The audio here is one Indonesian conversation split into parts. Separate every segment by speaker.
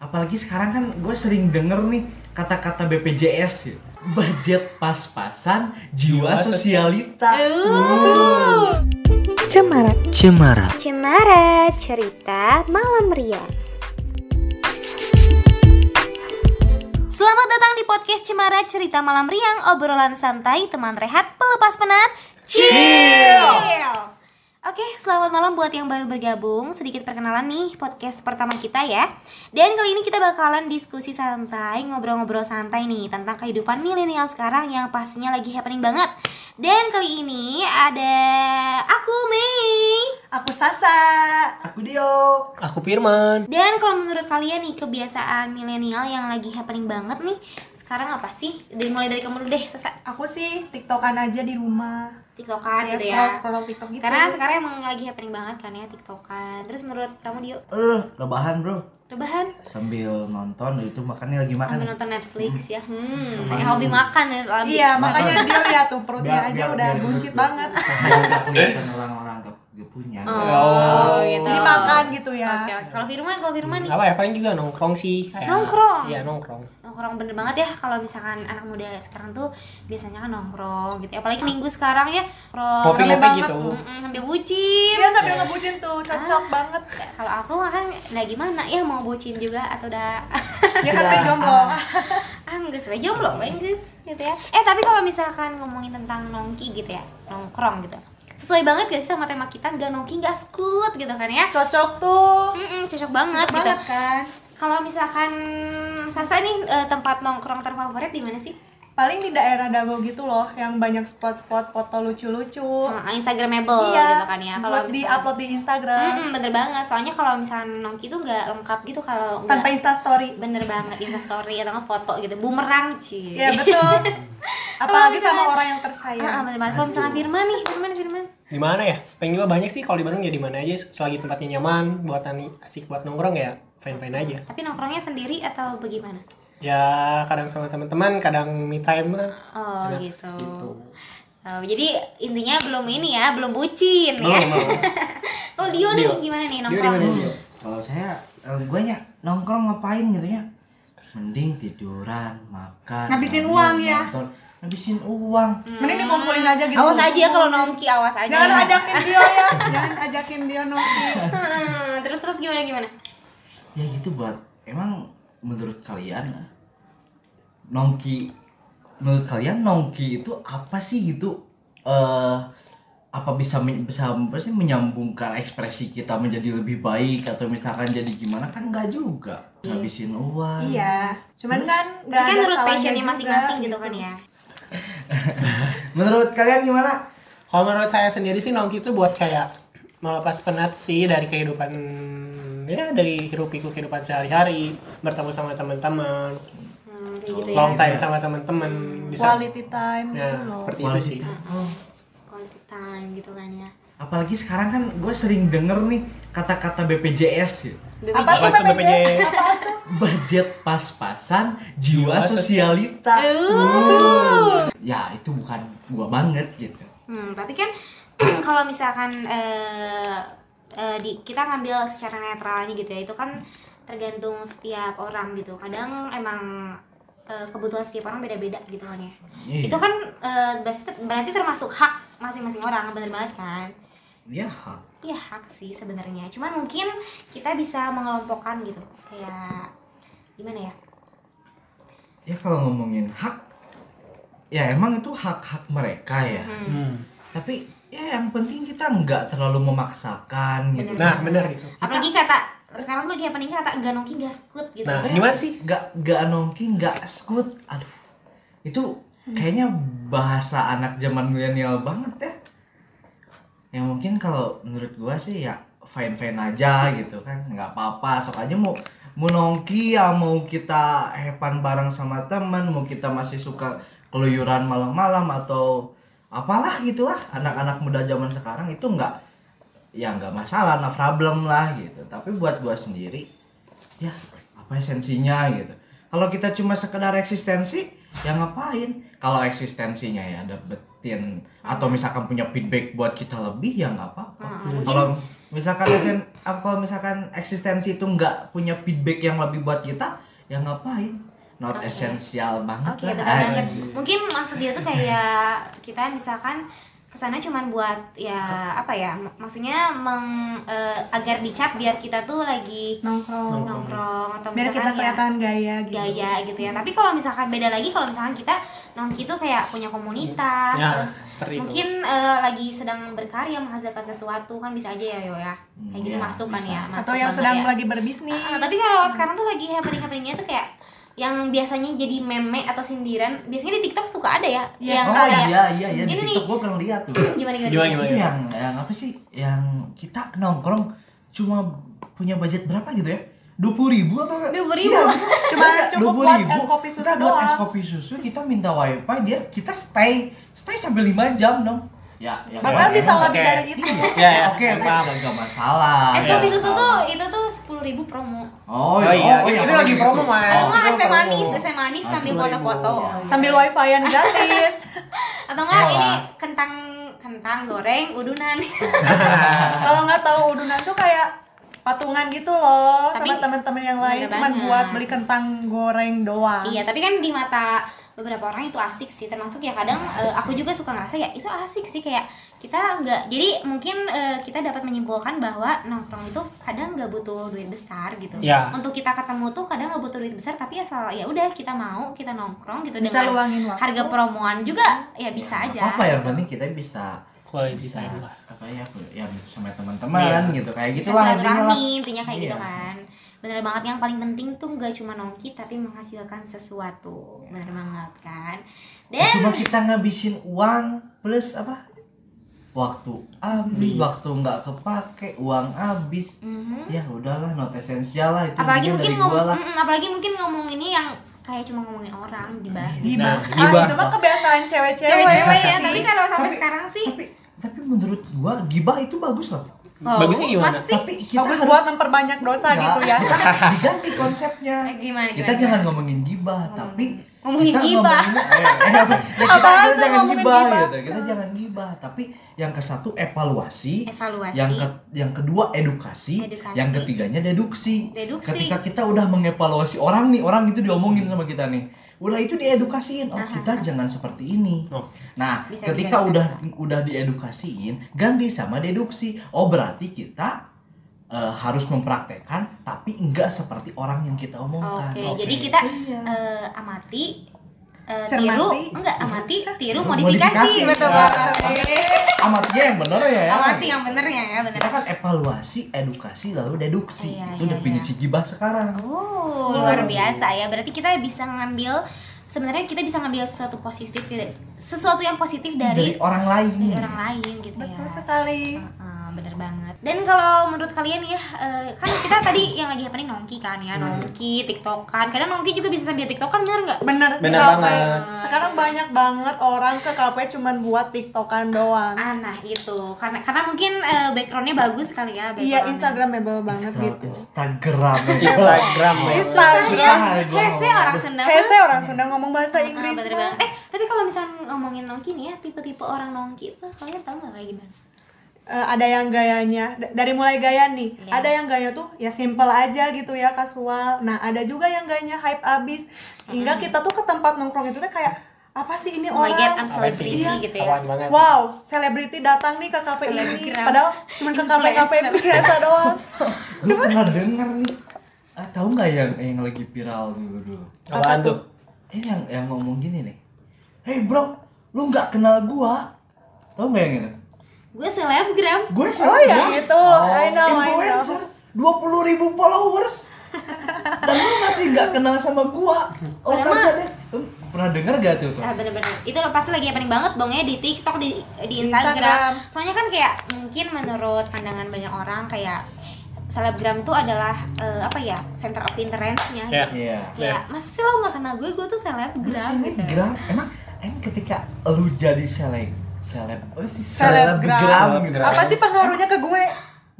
Speaker 1: apalagi sekarang kan gue sering denger nih kata-kata BPJS ya. Budget pas-pasan, jiwa
Speaker 2: Jiwa
Speaker 1: sosialita.
Speaker 3: Uh.
Speaker 4: Cemara.
Speaker 5: Cemara.
Speaker 6: Cemara cerita malam Ria.
Speaker 3: Selamat datang di podcast Cemara Cerita Malam Riang Obrolan santai teman rehat pelepas penat Chill Oke, selamat malam buat yang baru bergabung Sedikit perkenalan nih podcast pertama kita ya Dan kali ini kita bakalan diskusi santai Ngobrol-ngobrol santai nih Tentang kehidupan milenial sekarang yang pastinya lagi happening banget Dan kali ini ada aku Mei
Speaker 7: Aku Sasa. Aku Dio.
Speaker 2: Aku Firman.
Speaker 3: Dan kalau menurut kalian nih kebiasaan milenial yang lagi happening banget nih sekarang apa sih? Dari mulai dari kamu dulu deh, Sasa
Speaker 7: Aku sih tiktokan aja di rumah.
Speaker 3: TikTokan
Speaker 7: Kayak
Speaker 3: gitu ya.
Speaker 7: scroll-scroll tiktok Iya, gitu.
Speaker 3: Karena sekarang emang lagi happening banget kan ya TikTokan. Terus menurut kamu Dio,
Speaker 1: Eh, rebahan bro.
Speaker 3: rebahan
Speaker 1: Sambil nonton itu makannya lagi makan.
Speaker 3: sambil nonton Netflix ya? Hmm, kayak hobi makan ya selama
Speaker 7: Iya, makanya
Speaker 1: Makan.
Speaker 7: dia lihat tuh perutnya
Speaker 1: Biar-
Speaker 7: aja
Speaker 1: biar- gitu.
Speaker 7: udah
Speaker 1: biar-
Speaker 7: buncit
Speaker 1: biar-
Speaker 7: banget.
Speaker 1: Biar nggak kelihatan orang-orang gak, gak punya. Ya
Speaker 3: Oh, gitu.
Speaker 7: Jadi makan gitu
Speaker 3: Oke,
Speaker 7: ya.
Speaker 3: oke. Kalau Firman, kalau Firman nih
Speaker 2: Apa ya? Paling juga nongkrong sih. kayak-
Speaker 3: Nongkrong?
Speaker 2: Iya nongkrong.
Speaker 3: nongkrong bener banget ya kalau misalkan anak muda sekarang tuh biasanya kan nongkrong gitu ya. apalagi minggu sekarang ya
Speaker 2: Kopi
Speaker 3: nongkrong
Speaker 2: kopi
Speaker 7: banget.
Speaker 2: gitu.
Speaker 3: Mm-mm, sambil bucin
Speaker 7: Dia sambil ngebucin tuh,
Speaker 3: Ah.
Speaker 7: cocok banget.
Speaker 3: kalau aku mah kan nah gimana ya mau bocin juga atau udah
Speaker 7: Dia kan
Speaker 1: Iya.
Speaker 7: main jomblo.
Speaker 3: ah enggak sesuai jomblo apa enggak gitu ya eh tapi kalau misalkan ngomongin tentang nongki gitu ya nongkrong gitu sesuai banget gak sih sama tema kita nggak nongki nggak skut gitu kan ya
Speaker 7: Cocok tuh.
Speaker 3: Mm-mm, cocok
Speaker 7: Cocok
Speaker 3: banget
Speaker 7: banget
Speaker 3: Hmm, gitu
Speaker 7: kan.
Speaker 3: kalau misalkan Sasa nih eh, tempat nongkrong terfavorit di mana sih
Speaker 7: Paling di daerah Dago gitu loh, yang banyak spot-spot foto lucu-lucu. Iya,
Speaker 3: Eh, Instagramable gitu kan ya kalau Hmm,
Speaker 7: buat di
Speaker 3: misalkan-
Speaker 7: upload di Instagram.
Speaker 3: Mm-mm, bener banget soalnya kalau misalkan nongki tuh nggak lengkap gitu kalau
Speaker 7: Tanpa
Speaker 3: nggak-
Speaker 7: instastory.
Speaker 3: bener banget instastory atau nggak foto gitu bumerang cuy
Speaker 7: Iya, betul. Apalagi sama
Speaker 3: misalnya-
Speaker 7: orang yang
Speaker 3: Ah, ah,
Speaker 7: tersayang.
Speaker 3: bener banget. Kalau misalkan Firman nih, Firman, Firman.
Speaker 2: Di mana ya? Pengen juga banyak sih kalau di Bandung ya di mana aja selagi tempatnya nyaman, buat tani asik buat nongkrong ya fine-fine aja.
Speaker 3: Tapi nongkrongnya sendiri atau bagaimana?
Speaker 2: Ya kadang sama teman-teman, kadang me time lah.
Speaker 3: Oh,
Speaker 2: Kadang
Speaker 3: gitu.
Speaker 2: gitu.
Speaker 3: Oh, jadi intinya belum ini ya, belum bucin ya.
Speaker 2: Belum, belum.
Speaker 3: Kalau Dio nih
Speaker 2: Dio.
Speaker 3: gimana nih
Speaker 2: Dio di
Speaker 3: nongkrong?
Speaker 2: mana, Dio?
Speaker 1: Kalau saya, gue ya nongkrong ngapain gitu ya? Mending tiduran, makan.
Speaker 7: Ngabisin
Speaker 1: mandi,
Speaker 7: uang ya?
Speaker 1: nonton. Ngabisin uang.
Speaker 7: Mending
Speaker 2: Hmm.
Speaker 7: dikumpulin aja gitu.
Speaker 3: Awas aja ya kalau nongki, awas aja.
Speaker 7: Jangan ajakin dia ya, jangan ajakin dia nongki.
Speaker 2: Iya.
Speaker 3: Hmm, terus terus gimana gimana?
Speaker 1: Ya gitu buat. Emang menurut kalian nongki, menurut kalian nongki itu apa sih gitu? Eh apa bisa men- bisa apa sih menyambungkan ekspresi kita menjadi lebih baik atau misalkan jadi gimana kan enggak juga ngabisin uang
Speaker 7: Iya, cuman
Speaker 2: Hmm.
Speaker 7: kan nggak
Speaker 3: Ini kan
Speaker 7: ada
Speaker 3: menurut
Speaker 7: salahnya
Speaker 3: passionnya
Speaker 7: juga,
Speaker 3: masing-masing gitu kan ya.
Speaker 1: menurut kalian gimana
Speaker 2: Kalau menurut saya sendiri sih nongki itu buat kayak melepas penat sih dari kehidupan ya dari hirup pikuk kehidupan sehari-hari bertemu sama teman-teman
Speaker 3: Hmm, kayak gitu ya.
Speaker 2: long time sama teman-teman bisa
Speaker 7: Quality time gitu
Speaker 2: nah
Speaker 7: loh.
Speaker 2: seperti itu
Speaker 1: Quality
Speaker 2: sih
Speaker 3: Quality time gitu kan ya.
Speaker 1: apalagi sekarang kan gue sering denger nih kata-kata BPJS ya.
Speaker 7: Apa
Speaker 3: BPJS.
Speaker 7: tuh
Speaker 2: Apa itu
Speaker 7: BPJS?
Speaker 2: BPJS?
Speaker 7: Apaan tuh?
Speaker 1: budget pas-pasan jiwa
Speaker 2: Jiwa
Speaker 1: sosialita
Speaker 3: Uh.
Speaker 1: ya itu bukan gua banget gitu
Speaker 3: Hmm, tapi kan kalau misalkan eh, eh, di, kita ngambil secara netralnya gitu ya, itu kan tergantung setiap orang gitu. Kadang emang eh, kebutuhan setiap orang beda-beda gitu kan ya.
Speaker 1: Iya.
Speaker 3: Itu kan eh, berarti, berarti termasuk hak masing-masing orang, bener banget kan?
Speaker 1: ya hak
Speaker 3: Iya hak sih sebenarnya. Cuman mungkin kita bisa mengelompokkan gitu, kayak gimana ya?
Speaker 1: ya kalau ngomongin hak ya emang itu hak-hak mereka ya
Speaker 2: Hmm.
Speaker 1: tapi ya yang penting kita nggak terlalu memaksakan gitu
Speaker 2: nah benar gitu
Speaker 3: Apalagi kata sekarang tuh lagi happening kata nggak nongki nggak skut gitu.
Speaker 2: Nah,
Speaker 1: Eh,
Speaker 2: gimana sih?
Speaker 1: nggak nggak nongki nggak skut aduh itu kayaknya bahasa anak zaman milenial banget ya ya mungkin kalau menurut gua sih ya fine fine aja gitu kan nggak apa apa sok aja mau mau nongki ya mau kita hepan bareng sama teman mau kita masih suka keluyuran malam-malam atau apalah gitulah anak-anak muda zaman sekarang itu nggak ya nggak masalah no problem lah gitu tapi buat gua sendiri ya apa esensinya gitu kalau kita cuma sekedar eksistensi ya ngapain kalau eksistensinya ya dapetin atau misalkan punya feedback buat kita lebih ya nggak apa-apa
Speaker 3: Ah,
Speaker 1: kalau misalkan esen- apa kalau misalkan eksistensi itu nggak punya feedback yang lebih buat kita ya ngapain not
Speaker 3: Oke.
Speaker 1: esensial banget
Speaker 3: Oke,
Speaker 1: lah,
Speaker 3: betul banget.
Speaker 1: anjing.
Speaker 3: Mungkin maksud dia tuh kayak kita misalkan kesana cuman buat ya apa ya? mak- Maksudnya meng, eh, agar dicap biar kita tuh lagi
Speaker 7: nongkrong
Speaker 3: nongkrong atau
Speaker 7: biar kita
Speaker 3: misalkan ya,
Speaker 7: kelihatan gaya gitu
Speaker 3: gaya gitu ya. Tapi kalau misalkan beda lagi kalau misalkan kita nongki tuh kayak punya komunitas
Speaker 2: Ya,
Speaker 3: terus
Speaker 2: seperti itu.
Speaker 3: mungkin eh, lagi sedang berkarya menghasilkan sesuatu kan bisa aja ya yo ya. Kayak
Speaker 1: Hmm,
Speaker 3: gitu
Speaker 1: ya,
Speaker 3: masuk kan
Speaker 1: bisa.
Speaker 3: ya.
Speaker 7: atau
Speaker 3: masuk
Speaker 7: yang
Speaker 3: banget
Speaker 7: sedang
Speaker 3: ya.
Speaker 7: lagi berbisnis
Speaker 3: Ah, tapi kalau sekarang tuh lagi happening happeningnya tuh kayak yang biasanya jadi meme atau sindiran biasanya di TikTok suka ada ya
Speaker 7: Iya,
Speaker 3: yang
Speaker 1: oh
Speaker 3: kayak
Speaker 1: iya iya iya di
Speaker 3: Ini nih.
Speaker 1: TikTok gue pernah lihat tuh
Speaker 3: gimana gimana,
Speaker 2: Gimana, gimana?
Speaker 1: itu yang yang apa sih yang kita nongkrong cuma punya budget berapa gitu ya dua puluh ribu atau enggak Iya,
Speaker 3: 20.000.
Speaker 7: Cuma cukup buat es kopi susu
Speaker 1: kita buat es
Speaker 7: doang.
Speaker 1: kopi susu kita minta wifi dia kita stay stay sampai lima jam dong ya, ya
Speaker 7: bahkan
Speaker 1: ya,
Speaker 7: bisa
Speaker 1: enak.
Speaker 7: lebih
Speaker 2: Oke.
Speaker 7: dari itu
Speaker 2: Ya, ya,
Speaker 1: oke oke
Speaker 2: paham.
Speaker 1: nggak nggak masalah
Speaker 3: es Eh, kopi
Speaker 1: Nggak
Speaker 3: susu tuh
Speaker 1: masalah.
Speaker 3: itu tuh sepuluh ribu promo
Speaker 1: Iya. oh,
Speaker 2: Oh iya,
Speaker 1: oh,
Speaker 2: itu
Speaker 1: kalau
Speaker 2: lagi
Speaker 1: gitu.
Speaker 2: promo, Mas.
Speaker 3: oh
Speaker 2: Susu
Speaker 3: nggak es teh
Speaker 2: promo.
Speaker 3: manis es teh manis
Speaker 1: Ah,
Speaker 3: sambil
Speaker 2: 10.000.
Speaker 3: foto-foto
Speaker 7: sambil wifi-an gratis
Speaker 3: atau enggak
Speaker 1: Mewah.
Speaker 3: ini kentang kentang goreng udunan
Speaker 7: kalau nggak tahu udunan tuh kayak patungan gitu loh sama
Speaker 3: Tapi-
Speaker 7: teman-teman yang lain
Speaker 3: Bener
Speaker 7: cuman
Speaker 3: banget.
Speaker 7: buat beli kentang goreng doang
Speaker 3: iya tapi kan di mata beberapa orang itu asik sih termasuk ya kadang eh, aku juga suka ngerasa ya itu asik sih kayak kita nggak jadi mungkin eh, kita dapat menyimpulkan bahwa nongkrong itu kadang nggak butuh duit besar gitu
Speaker 2: Ya.
Speaker 3: untuk kita ketemu tuh kadang nggak butuh duit besar tapi asal ya udah kita mau kita nongkrong gitu
Speaker 7: bisa
Speaker 3: dengan
Speaker 7: luangin waktu
Speaker 3: harga promoan juga ya bisa aja
Speaker 1: apa yang penting kita bisa
Speaker 2: Quality
Speaker 1: bisa
Speaker 2: time lah.
Speaker 1: apa ya yang sama
Speaker 2: Iya.
Speaker 1: teman-teman gitu kayak
Speaker 3: bisa
Speaker 1: gitu lah intinya lah.
Speaker 3: silaturahmi intinya kayak gitu
Speaker 1: Iya.
Speaker 3: kan bener banget yang paling penting tuh nggak cuma nongki tapi menghasilkan sesuatu bener banget kan dan
Speaker 1: cuma kita ngabisin uang plus apa waktu habis waktu nggak kepake uang habis
Speaker 3: Mhm.
Speaker 1: ya udahlah not esensial lah itu
Speaker 3: apalagi
Speaker 1: intinya
Speaker 3: mungkin
Speaker 1: dari
Speaker 3: ngom
Speaker 1: gua lah
Speaker 3: mm, apalagi mungkin ngomong ini yang kayak cuma ngomongin orang di bar
Speaker 1: Iya.
Speaker 7: gibah
Speaker 2: Nah,
Speaker 7: ah
Speaker 2: gibah.
Speaker 7: itu mah kebiasaan cewek-cewek
Speaker 3: gitu cewek-cewek ya
Speaker 7: sih.
Speaker 3: tapi kalau sampai
Speaker 1: Tapi-
Speaker 3: sekarang sih
Speaker 1: tapi tapi menurut gua gibah itu bagus loh
Speaker 3: oh,
Speaker 2: Bagusnya gimana?
Speaker 3: masa sih?
Speaker 1: tapi kita
Speaker 7: bagus
Speaker 1: harus
Speaker 7: buat memperbanyak dosa
Speaker 3: Iya.
Speaker 1: Nggak,
Speaker 7: gitu ya
Speaker 1: kita harus diganti konsepnya
Speaker 3: Eh, gimana,
Speaker 1: kita
Speaker 3: gimana?
Speaker 1: jangan ngomongin gibah tapi
Speaker 3: Ngomongin
Speaker 1: kita
Speaker 3: gibah.
Speaker 1: ngomongin- eh, eh, apa? Ya, kita, kita
Speaker 7: Apaan tuh
Speaker 1: jangan
Speaker 7: ngomongin
Speaker 1: gibah
Speaker 7: gibah?
Speaker 1: gitu kita jangan gibah tapi yang ke satu evaluasi
Speaker 3: Evaluasi.
Speaker 1: yang ke- yang kedua edukasi,
Speaker 3: Edukasi.
Speaker 1: yang ketiganya deduksi.
Speaker 3: Deduksi.
Speaker 1: ketika kita udah mengevaluasi orang nih orang itu diomongin sama kita nih udah itu diedukasiin oh kita jangan seperti ini
Speaker 2: Oke.
Speaker 1: nah
Speaker 3: Bisa,
Speaker 1: ketika
Speaker 3: bisa, bisa,
Speaker 1: udah udah diedukasiin ganti sama deduksi oh berarti kita eh, harus mempraktekkan tapi enggak seperti orang yang kita omongkan
Speaker 3: Oke,
Speaker 1: Oke.
Speaker 3: jadi kita
Speaker 1: Iya.
Speaker 3: eh, amati, eh,
Speaker 7: Cermati.
Speaker 3: tiru, enggak amati, tiru
Speaker 1: Tiru,
Speaker 3: modifikasi,
Speaker 1: modifikasi.
Speaker 3: betul
Speaker 1: Nah,
Speaker 3: banget.
Speaker 1: amatnya yang bener ya
Speaker 3: Amati yang benernya ya, bener.
Speaker 1: kita kan evaluasi edukasi lalu deduksi
Speaker 3: Iya,
Speaker 1: itu
Speaker 3: iya,
Speaker 1: definisi gibah sekarang Iya.
Speaker 3: Oh, luar biasa ya. Berarti kita bisa ngambil sebenarnya kita bisa ngambil sesuatu positif tidak- sesuatu yang positif
Speaker 1: dari,
Speaker 3: dari
Speaker 1: orang lain
Speaker 3: dari orang lain gitu
Speaker 7: betul
Speaker 3: ya.
Speaker 7: sekali
Speaker 3: Heeh, bener banget. Dan kalau menurut kalian ya, eh, kan kita tadi yang lagi happening nongki kan ya,
Speaker 7: Hmm.
Speaker 3: nongki, tiktokan. Kadang nongki juga bisa sambil tiktokan, bener nggak?
Speaker 7: bener di
Speaker 2: Bener
Speaker 7: kafe.
Speaker 2: banget.
Speaker 7: sekarang banyak banget orang ke kafe cuman buat tiktokan doang
Speaker 3: Ah, nah itu karena karena mungkin eh, backgroundnya bagus kali ya
Speaker 7: iya
Speaker 3: backgroundnya.
Speaker 7: instagramable banget
Speaker 1: Instagram,
Speaker 7: gitu Iya.
Speaker 1: Instagram
Speaker 2: Instagram ya.
Speaker 7: Instagram Iya,
Speaker 1: susah ya gua
Speaker 3: Hese
Speaker 1: ngomong.
Speaker 3: orang Sunda.
Speaker 7: Hese orang Sunda ngomong bahasa
Speaker 3: Ah,
Speaker 7: Inggris
Speaker 3: bener
Speaker 7: mah.
Speaker 3: banget. Eh tapi kalau misalnya ngomongin nongki nih ya tipe-tipe orang nongki itu kalian tahu nggak kayak gimana?
Speaker 7: Eh, ada yang gayanya d- dari mulai gaya nih
Speaker 3: Iya.
Speaker 7: ada yang gaya tuh ya simple aja gitu ya kasual nah ada juga yang gayanya hype abis hingga kita tuh ke tempat nongkrong itu tuh kayak apa sih ini
Speaker 3: Oh my god, I'm
Speaker 7: orang
Speaker 2: Apa sih?
Speaker 3: celebrity gitu ya.
Speaker 2: Apaan banget.
Speaker 7: wow selebriti datang nih ke kafe ini
Speaker 3: Selebgram.
Speaker 7: padahal cuma ke kafe kafe
Speaker 3: Influencer.
Speaker 7: biasa doang
Speaker 1: gue pernah denger nih ah, tahu nggak yang yang lagi viral dulu dulu
Speaker 2: Apaan tuh?
Speaker 1: ini yang yang ngomong gini nih hey bro lu nggak kenal gua tahu nggak yang itu
Speaker 3: Gue selebgram.
Speaker 1: gue
Speaker 7: oh ya gitu I know I know
Speaker 1: influencer dua puluh ribu followers dan lu masih nggak kenal sama gua oh
Speaker 3: Padahal mah-
Speaker 1: deh Lu pernah denger gak tuh tuh
Speaker 3: Ah bener-bener itu loh pasti lagi happening banget dong ya di TikTok di di Instagram.
Speaker 7: Instagram.
Speaker 3: Soalnya kan kayak mungkin menurut pandangan banyak orang kayak selebgram tuh adalah eh, apa ya center of interestnya
Speaker 2: Ya.
Speaker 3: gitu.
Speaker 1: iya
Speaker 3: Kayak masa sih lo nggak kenal gue, gue tuh selebgram gitu.
Speaker 1: selebgram emang emang ketika lu jadi seleb seleb apa sih
Speaker 7: Selebgram.
Speaker 1: selebgram gitu
Speaker 7: apa sih pengaruhnya ke gue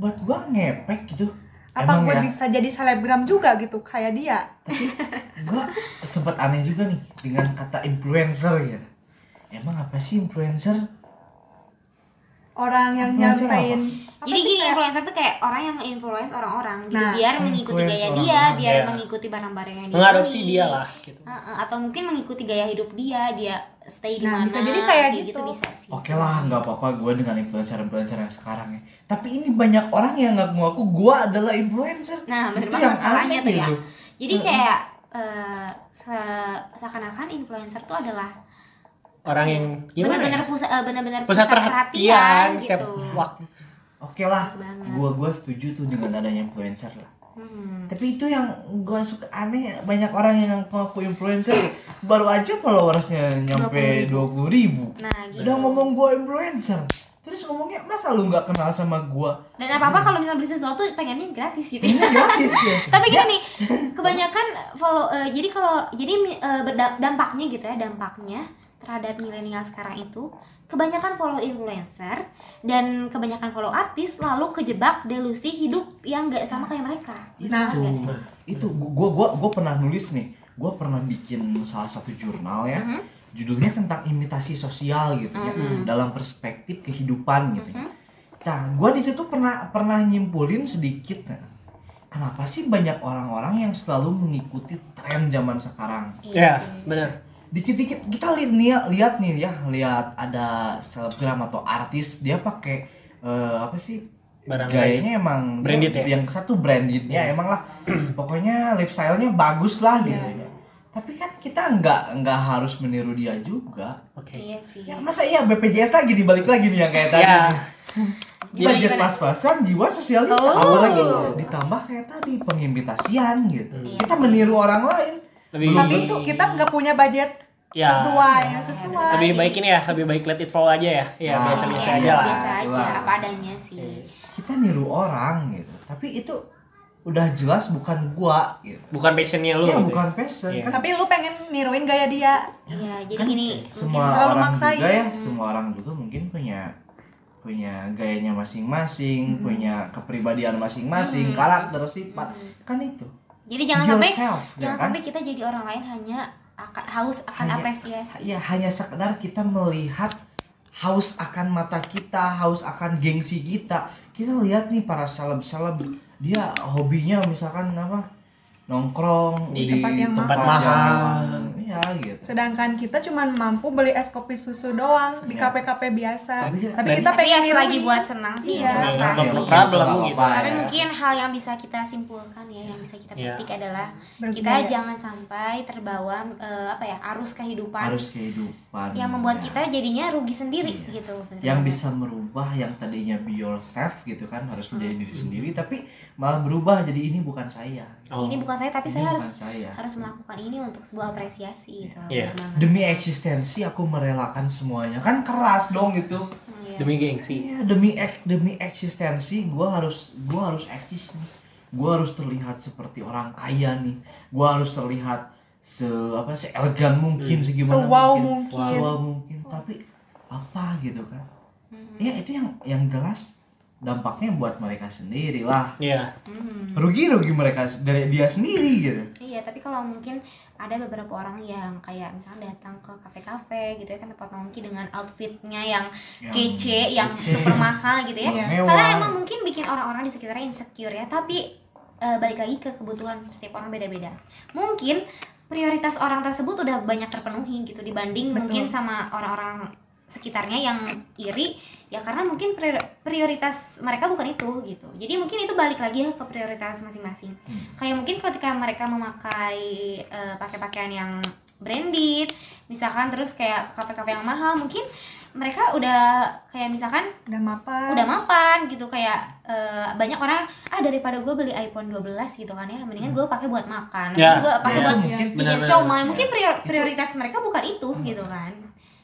Speaker 1: buat gua ngepek gitu
Speaker 7: apa
Speaker 1: emang
Speaker 7: gue
Speaker 1: ya
Speaker 7: bisa jadi selebgram juga gitu kayak dia
Speaker 1: gua sempat aneh juga nih dengan kata influencer ya emang apa sih influencer
Speaker 7: orang yang
Speaker 1: Influencer
Speaker 7: nyampein apa
Speaker 3: Jadi
Speaker 7: sih
Speaker 3: gini
Speaker 7: kayak-
Speaker 3: influencer tuh kayak orang yang influence orang-orang. Jadi
Speaker 7: Nah,
Speaker 3: biar mengikuti gaya
Speaker 1: influence
Speaker 3: dia,
Speaker 1: orang-orang,
Speaker 3: biar
Speaker 2: ya.
Speaker 3: mengikuti barang-barang yang dia
Speaker 2: mengadopsi
Speaker 3: beli.
Speaker 2: dia lah gitu
Speaker 3: Heeh, atau mungkin mengikuti gaya hidup dia, dia stay di
Speaker 7: Nah,
Speaker 3: mana.
Speaker 7: bisa jadi kayak gitu.
Speaker 3: bisa sih.
Speaker 1: Oke lah, nggak apa-apa gue dengan influencer-influencer yang sekarang ya. Tapi ini banyak orang yang ngaku aku gue adalah influencer.
Speaker 3: Nah, bener
Speaker 1: Itu
Speaker 3: banget
Speaker 1: yang
Speaker 3: masalahnya
Speaker 1: aneh
Speaker 3: tuh ya.
Speaker 1: gitu.
Speaker 3: Jadi kayak eh, se- seakan-akan influencer tuh adalah
Speaker 2: orang yang gimana
Speaker 3: bener-bener
Speaker 2: ya?
Speaker 3: pusat eh, bener-bener
Speaker 2: pusat perhatian setiap Ah,
Speaker 3: gitu.
Speaker 2: waktu
Speaker 1: Oke lah,
Speaker 3: Banget.
Speaker 1: gue gue setuju tuh dengan adanya influencer lah.
Speaker 3: Hmm.
Speaker 1: Tapi itu yang gue suka aneh banyak orang yang ngaku influencer baru aja followersnya nyampe dua puluh ribu.
Speaker 3: Nah, gitu.
Speaker 1: Udah ngomong gue influencer, terus ngomongnya masa lu nggak kenal sama gue?
Speaker 3: Dan apa-apa kalau misalnya beli sesuatu pengennya gratis gitu.
Speaker 1: Ini
Speaker 2: Iya.
Speaker 1: gratis ya.
Speaker 3: tapi gini nih kebanyakan follow eh, jadi kalau jadi eh, berda- dampaknya gitu ya dampaknya terhadap milenial sekarang itu kebanyakan follow influencer dan kebanyakan follow artis lalu kejebak delusi hidup yang gak sama kayak mereka
Speaker 1: Nah,
Speaker 3: Bener nggak
Speaker 1: itu,
Speaker 3: sih?
Speaker 1: itu gua gua gua pernah nulis nih. Gua pernah bikin salah satu jurnal ya. Judulnya tentang imitasi sosial gitu ya, dalam perspektif kehidupan gitu ya. Nah, gua di situ pernah pernah nyimpulin sedikit nah, Kenapa sih banyak orang-orang yang selalu mengikuti tren zaman sekarang?
Speaker 3: Iya
Speaker 2: ya bener
Speaker 1: dikit-dikit kita lihat nih ya- lihat nih ya lihat ada selebgram atau artis dia pakai eh, apa sih
Speaker 2: Barang
Speaker 1: gayanya emang
Speaker 2: Branded
Speaker 1: dia-
Speaker 2: ya?
Speaker 1: yang satu branded ya emang lah pokoknya lifestyle-nya bagus lah gitu ya tapi kan kita nggak nggak harus meniru dia juga
Speaker 2: oke
Speaker 3: iya sih
Speaker 1: ya masa iya BPJS lagi dibalik lagi nih yang kayak tadi
Speaker 2: Ya.
Speaker 1: budget pas-pasan jiwa sosial ditambah lagi ditambah kayak tadi pengimitasian gitu kita meniru orang lain
Speaker 2: lebih
Speaker 7: tapi tuh kita nggak punya budget
Speaker 2: Ya.
Speaker 7: sesuai yang sesuai
Speaker 2: lebih baik ini ya lebih baik let it flow aja ya ya
Speaker 1: Ah,
Speaker 2: biasa biasa aja
Speaker 1: iya,
Speaker 2: lah
Speaker 3: biasa aja
Speaker 1: Lah.
Speaker 3: apa adanya sih
Speaker 1: kita niru orang gitu tapi itu udah jelas bukan gua gitu
Speaker 2: bukan passionnya lu
Speaker 1: ya
Speaker 2: gitu
Speaker 1: bukan passion
Speaker 2: Iya.
Speaker 1: kan
Speaker 7: tapi lu pengen niruin gaya dia
Speaker 3: iya jadi gini
Speaker 1: semua
Speaker 7: mungkin terlalu
Speaker 1: orang
Speaker 7: maksain.
Speaker 1: juga ya semua orang juga mungkin punya punya gayanya masing-masing
Speaker 3: Hmm.
Speaker 1: punya kepribadian masing-masing karakter sifat kan itu
Speaker 3: jadi Hmm. jangan sampai
Speaker 1: Yourself, ya
Speaker 3: jangan
Speaker 1: kan?
Speaker 3: sampai kita jadi orang lain hanya akan haus akan
Speaker 1: Hanya-
Speaker 3: apresiasi
Speaker 1: ya hanya sekedar kita melihat haus akan mata kita, haus akan gengsi kita. Kita lihat nih para seleb-seleb dia hobinya misalkan apa? nongkrong
Speaker 2: Di
Speaker 1: di,
Speaker 7: tempat yang
Speaker 2: tempat mahal.
Speaker 1: Iya gitu.
Speaker 7: sedangkan kita cuman mampu beli es kopi susu doang di
Speaker 1: Iya.
Speaker 7: KP-KP biasa
Speaker 1: Tapi-
Speaker 7: tapi,
Speaker 1: Dan-
Speaker 7: kita
Speaker 3: tapi
Speaker 7: pengen
Speaker 3: ya selagi
Speaker 7: niruin.
Speaker 3: buat senang sih
Speaker 7: Iya.
Speaker 3: ya,
Speaker 2: Iya,
Speaker 3: pasti.
Speaker 2: no problem
Speaker 1: Nggak
Speaker 2: gitu.
Speaker 1: apa-apa
Speaker 3: Tapi
Speaker 1: ya.
Speaker 3: mungkin hal yang bisa kita simpulkan ya, yang bisa kita
Speaker 2: Iya.
Speaker 3: petik adalah kita
Speaker 7: Bergaya.
Speaker 3: jangan sampai terbawa eh, apa ya arus kehidupan
Speaker 1: harus kehidupan
Speaker 3: yang membuat
Speaker 1: ya.
Speaker 3: kita jadinya rugi sendiri
Speaker 1: Iya.
Speaker 3: gitu. bener
Speaker 1: yang
Speaker 3: banget.
Speaker 1: bisa merubah yang tadinya be yourself gitu kan harus menjadi diri
Speaker 3: Hmm.
Speaker 1: sendiri tapi malah berubah jadi ini bukan saya.
Speaker 2: Oh.
Speaker 3: Ini bukan saya tapi
Speaker 1: Ini
Speaker 3: saya
Speaker 1: bukan
Speaker 3: harus
Speaker 1: saya.
Speaker 3: harus melakukan ini untuk sebuah apresiasi gitu.
Speaker 2: Iya.
Speaker 3: bener banget.
Speaker 1: Demi eksistensi aku merelakan semuanya. Kan keras dong gitu.
Speaker 3: Iya.
Speaker 2: demi gengsi
Speaker 1: Iya demi ek- demi eksistensi gue harus gue harus eksis nih gue harus terlihat seperti orang kaya nih gue harus terlihat se apa se elegan mungkin segimana
Speaker 7: Se-wow mungkin.
Speaker 1: Wow mungkin tapi apa gitu kan
Speaker 3: Hmm.
Speaker 1: ya itu yang yang jelas dampaknya buat mereka sendiri lah
Speaker 2: ya
Speaker 3: Mm-hmm.
Speaker 1: rugi rugi mereka s- dari dia sendiri gitu
Speaker 3: Iya, tapi kalau mungkin ada beberapa orang yang kayak misalnya datang ke kafe-kafe gitu ya kan tempat nongki dengan outfitnya yang,
Speaker 1: Yang
Speaker 3: kece, yang
Speaker 1: kece.
Speaker 3: super mahal gitu ya.
Speaker 1: Yang
Speaker 3: Karena
Speaker 1: mewah.
Speaker 3: emang mungkin bikin orang-orang di sekitarnya insecure ya, tapi eh, balik lagi ke kebutuhan setiap orang beda-beda. Mungkin prioritas orang tersebut udah banyak terpenuhi gitu dibanding mungkin sama orang-orang sekitarnya yang iri ya karena mungkin prior- prioritas mereka bukan itu gitu jadi mungkin itu balik lagi ya ke prioritas masing-masing kayak mungkin ketika mereka memakai eh, pakai pakaian yang branded misalkan terus kayak ke kafe-kafe yang mahal mungkin mereka udah kayak misalkan
Speaker 7: udah mapan
Speaker 3: udah mapan gitu kayak eh, banyak orang ah daripada gue beli iPhone 12 gitu kan ya mendingan gue pakai buat makan
Speaker 2: Ya,
Speaker 3: gue pakai
Speaker 1: ya.
Speaker 3: buat
Speaker 1: Mungkin
Speaker 3: bikin
Speaker 2: benar-benar.
Speaker 3: siomay mungkin prior- prioritas mereka bukan itu gitu kan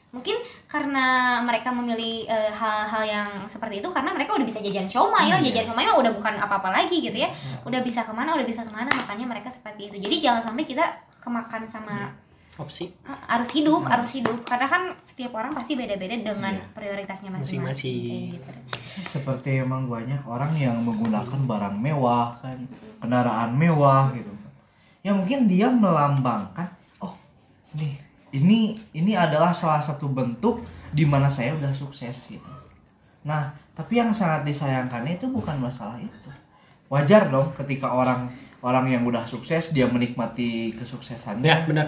Speaker 3: mungkin karena mereka memilih eh, hal-hal yang seperti itu karena mereka udah bisa jajan siomay lah jajan siomay mah udah bukan apa-apa lagi gitu ya
Speaker 1: Iya.
Speaker 3: udah bisa kemana udah bisa kemana makanya mereka seperti itu jadi jangan sampai kita kemakan sama
Speaker 2: Iya. opsi
Speaker 3: eh, arus hidup arus hidup karena kan setiap orang pasti beda-beda dengan prioritasnya Iya. masing-masing
Speaker 2: Masing-masing.
Speaker 3: Kayak gitu.
Speaker 1: seperti emang banyak orang yang menggunakan barang mewah kan kendaraan mewah gitu ya mungkin dia melambangkan oh nih ini ini adalah salah satu bentuk di mana saya udah sukses gitu Nah, tapi yang sangat disayangkannya itu bukan masalah itu. Wajar dong ketika orang orang yang udah sukses dia menikmati kesuksesannya.
Speaker 2: ya benar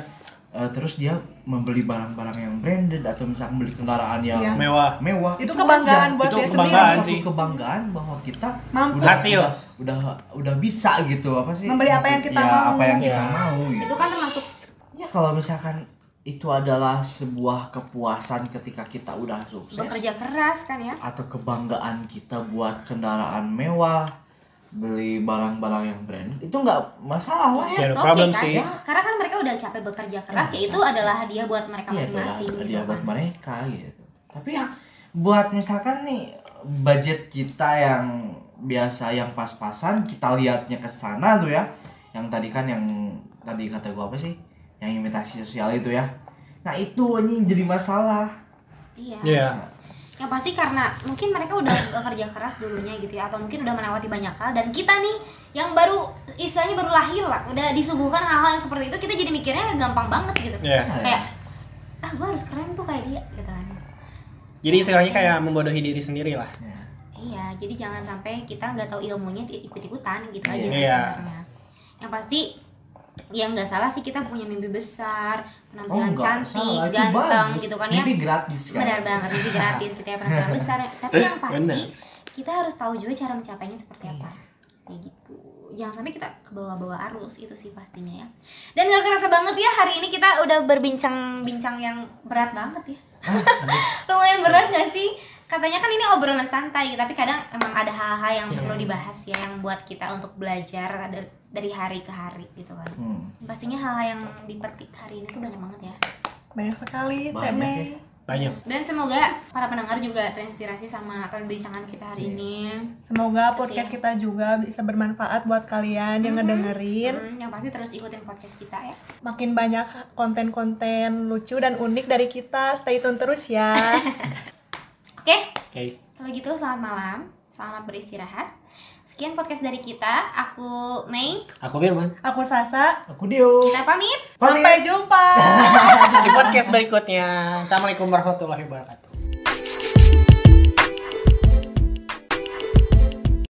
Speaker 1: Eh, terus dia membeli barang-barang yang branded atau misalnya membeli kendaraan yang
Speaker 7: Iya.
Speaker 2: Ah, mewah
Speaker 1: mewah.
Speaker 7: Itu kebanggaan
Speaker 1: wajar.
Speaker 7: buat
Speaker 2: Itu
Speaker 7: dia
Speaker 2: kebanggaan
Speaker 7: sendiri.
Speaker 1: Satu
Speaker 2: sih.
Speaker 1: kebanggaan bahwa kita
Speaker 7: Mampu.
Speaker 1: udah-
Speaker 2: Hasil.
Speaker 1: udah udah bisa gitu apa sih
Speaker 7: Membeli apa yang kita
Speaker 1: Ya,
Speaker 7: mau.
Speaker 1: apa yang kita
Speaker 2: Ya.
Speaker 1: mau gitu.
Speaker 3: Itu kan termasuk
Speaker 1: Ya kalau misalkan itu adalah sebuah kepuasan ketika kita udah sukses
Speaker 3: bekerja keras kan ya.
Speaker 1: atau kebanggaan kita buat kendaraan mewah, beli barang-barang yang branded itu nggak masalah lah ya.
Speaker 2: Ya, no
Speaker 3: It's okay,
Speaker 2: problem
Speaker 3: kan?
Speaker 2: sih.
Speaker 3: Ya, Karena kan mereka udah capek bekerja keras, ya itu adalah hadiah buat mereka
Speaker 1: Iya, adalah
Speaker 3: masing-masing. gitu
Speaker 1: hadiah
Speaker 3: kan.
Speaker 1: buat mereka gitu. Tapi ya buat misalkan nih budget kita yang biasa yang pas-pasan kita lihatnya ke sana tuh ya. Yang tadi kan yang tadi kata gua apa sih? Yang imitasi sosial itu ya. Nah, itu anjing jadi masalah.
Speaker 3: Iya.
Speaker 2: Iya.
Speaker 3: Yang Ya, pasti karena mungkin mereka udah bekerja keras dulunya gitu ya, atau mungkin udah melewati banyak hal. Dan kita nih yang baru istilahnya baru lahir lah, udah disuguhkan hal-hal yang seperti itu, kita jadi mikirnya gampang banget gitu.
Speaker 2: Iya.
Speaker 3: Kayak ah gue harus keren tuh kayak dia gitu kan.
Speaker 2: jadi istilahnya kayak membodohi diri sendiri lah
Speaker 1: Ya.
Speaker 3: Iya, jadi jangan sampai kita nggak tahu ilmunya ti- ikut-ikutan gitu aja sih
Speaker 2: Iya.
Speaker 3: sebenarnya. Yang pasti yang nggak salah sih kita punya mimpi besar,
Speaker 1: Oh,
Speaker 3: penampilan
Speaker 1: nggak
Speaker 3: cantik,
Speaker 1: salah, itu
Speaker 3: ganteng
Speaker 1: bagus.
Speaker 3: gitu kan ya.
Speaker 1: Mimpi gratis kan.
Speaker 3: Benar banget, mimpi gratis kita ya penampilan besar. Tapi yang pasti
Speaker 2: Benar.
Speaker 3: kita harus tahu juga cara mencapainya seperti apa. Ya gitu. Jangan sampai kita kebawa-bawa arus itu sih pastinya ya. Dan gak kerasa banget ya hari ini kita udah berbincang-bincang yang berat banget ya. Lumayan berat gak sih? Katanya kan ini obrolan santai, tapi kadang emang ada hal-hal yang perlu dibahas ya yang buat kita untuk belajar dari, dari hari ke hari gitu kan.
Speaker 1: Hmm.
Speaker 3: Pastinya hal-hal yang dipetik hari ini tuh banyak banget ya.
Speaker 7: Banyak sekali
Speaker 1: Banyak
Speaker 7: temnya.
Speaker 1: ya.
Speaker 2: banyak
Speaker 3: Dan semoga para pendengar juga terinspirasi sama perbincangan kita hari ini.
Speaker 7: Semoga podcast kita juga bisa bermanfaat buat kalian yang ngedengerin.
Speaker 3: Hmm, yang pasti terus ikutin podcast kita ya.
Speaker 7: Makin banyak konten-konten lucu dan unik dari kita. Stay tune terus ya.
Speaker 3: Oke,
Speaker 2: oke
Speaker 3: kalau gitu selamat malam, selamat beristirahat. Sekian podcast dari kita. Aku Mei,
Speaker 2: aku Firman
Speaker 7: Aku Sasa.
Speaker 1: Aku Dio.
Speaker 3: kita pamit.
Speaker 7: Sampai jumpa.
Speaker 2: di podcast berikutnya assalamualaikum warahmatullahi wabarakatuh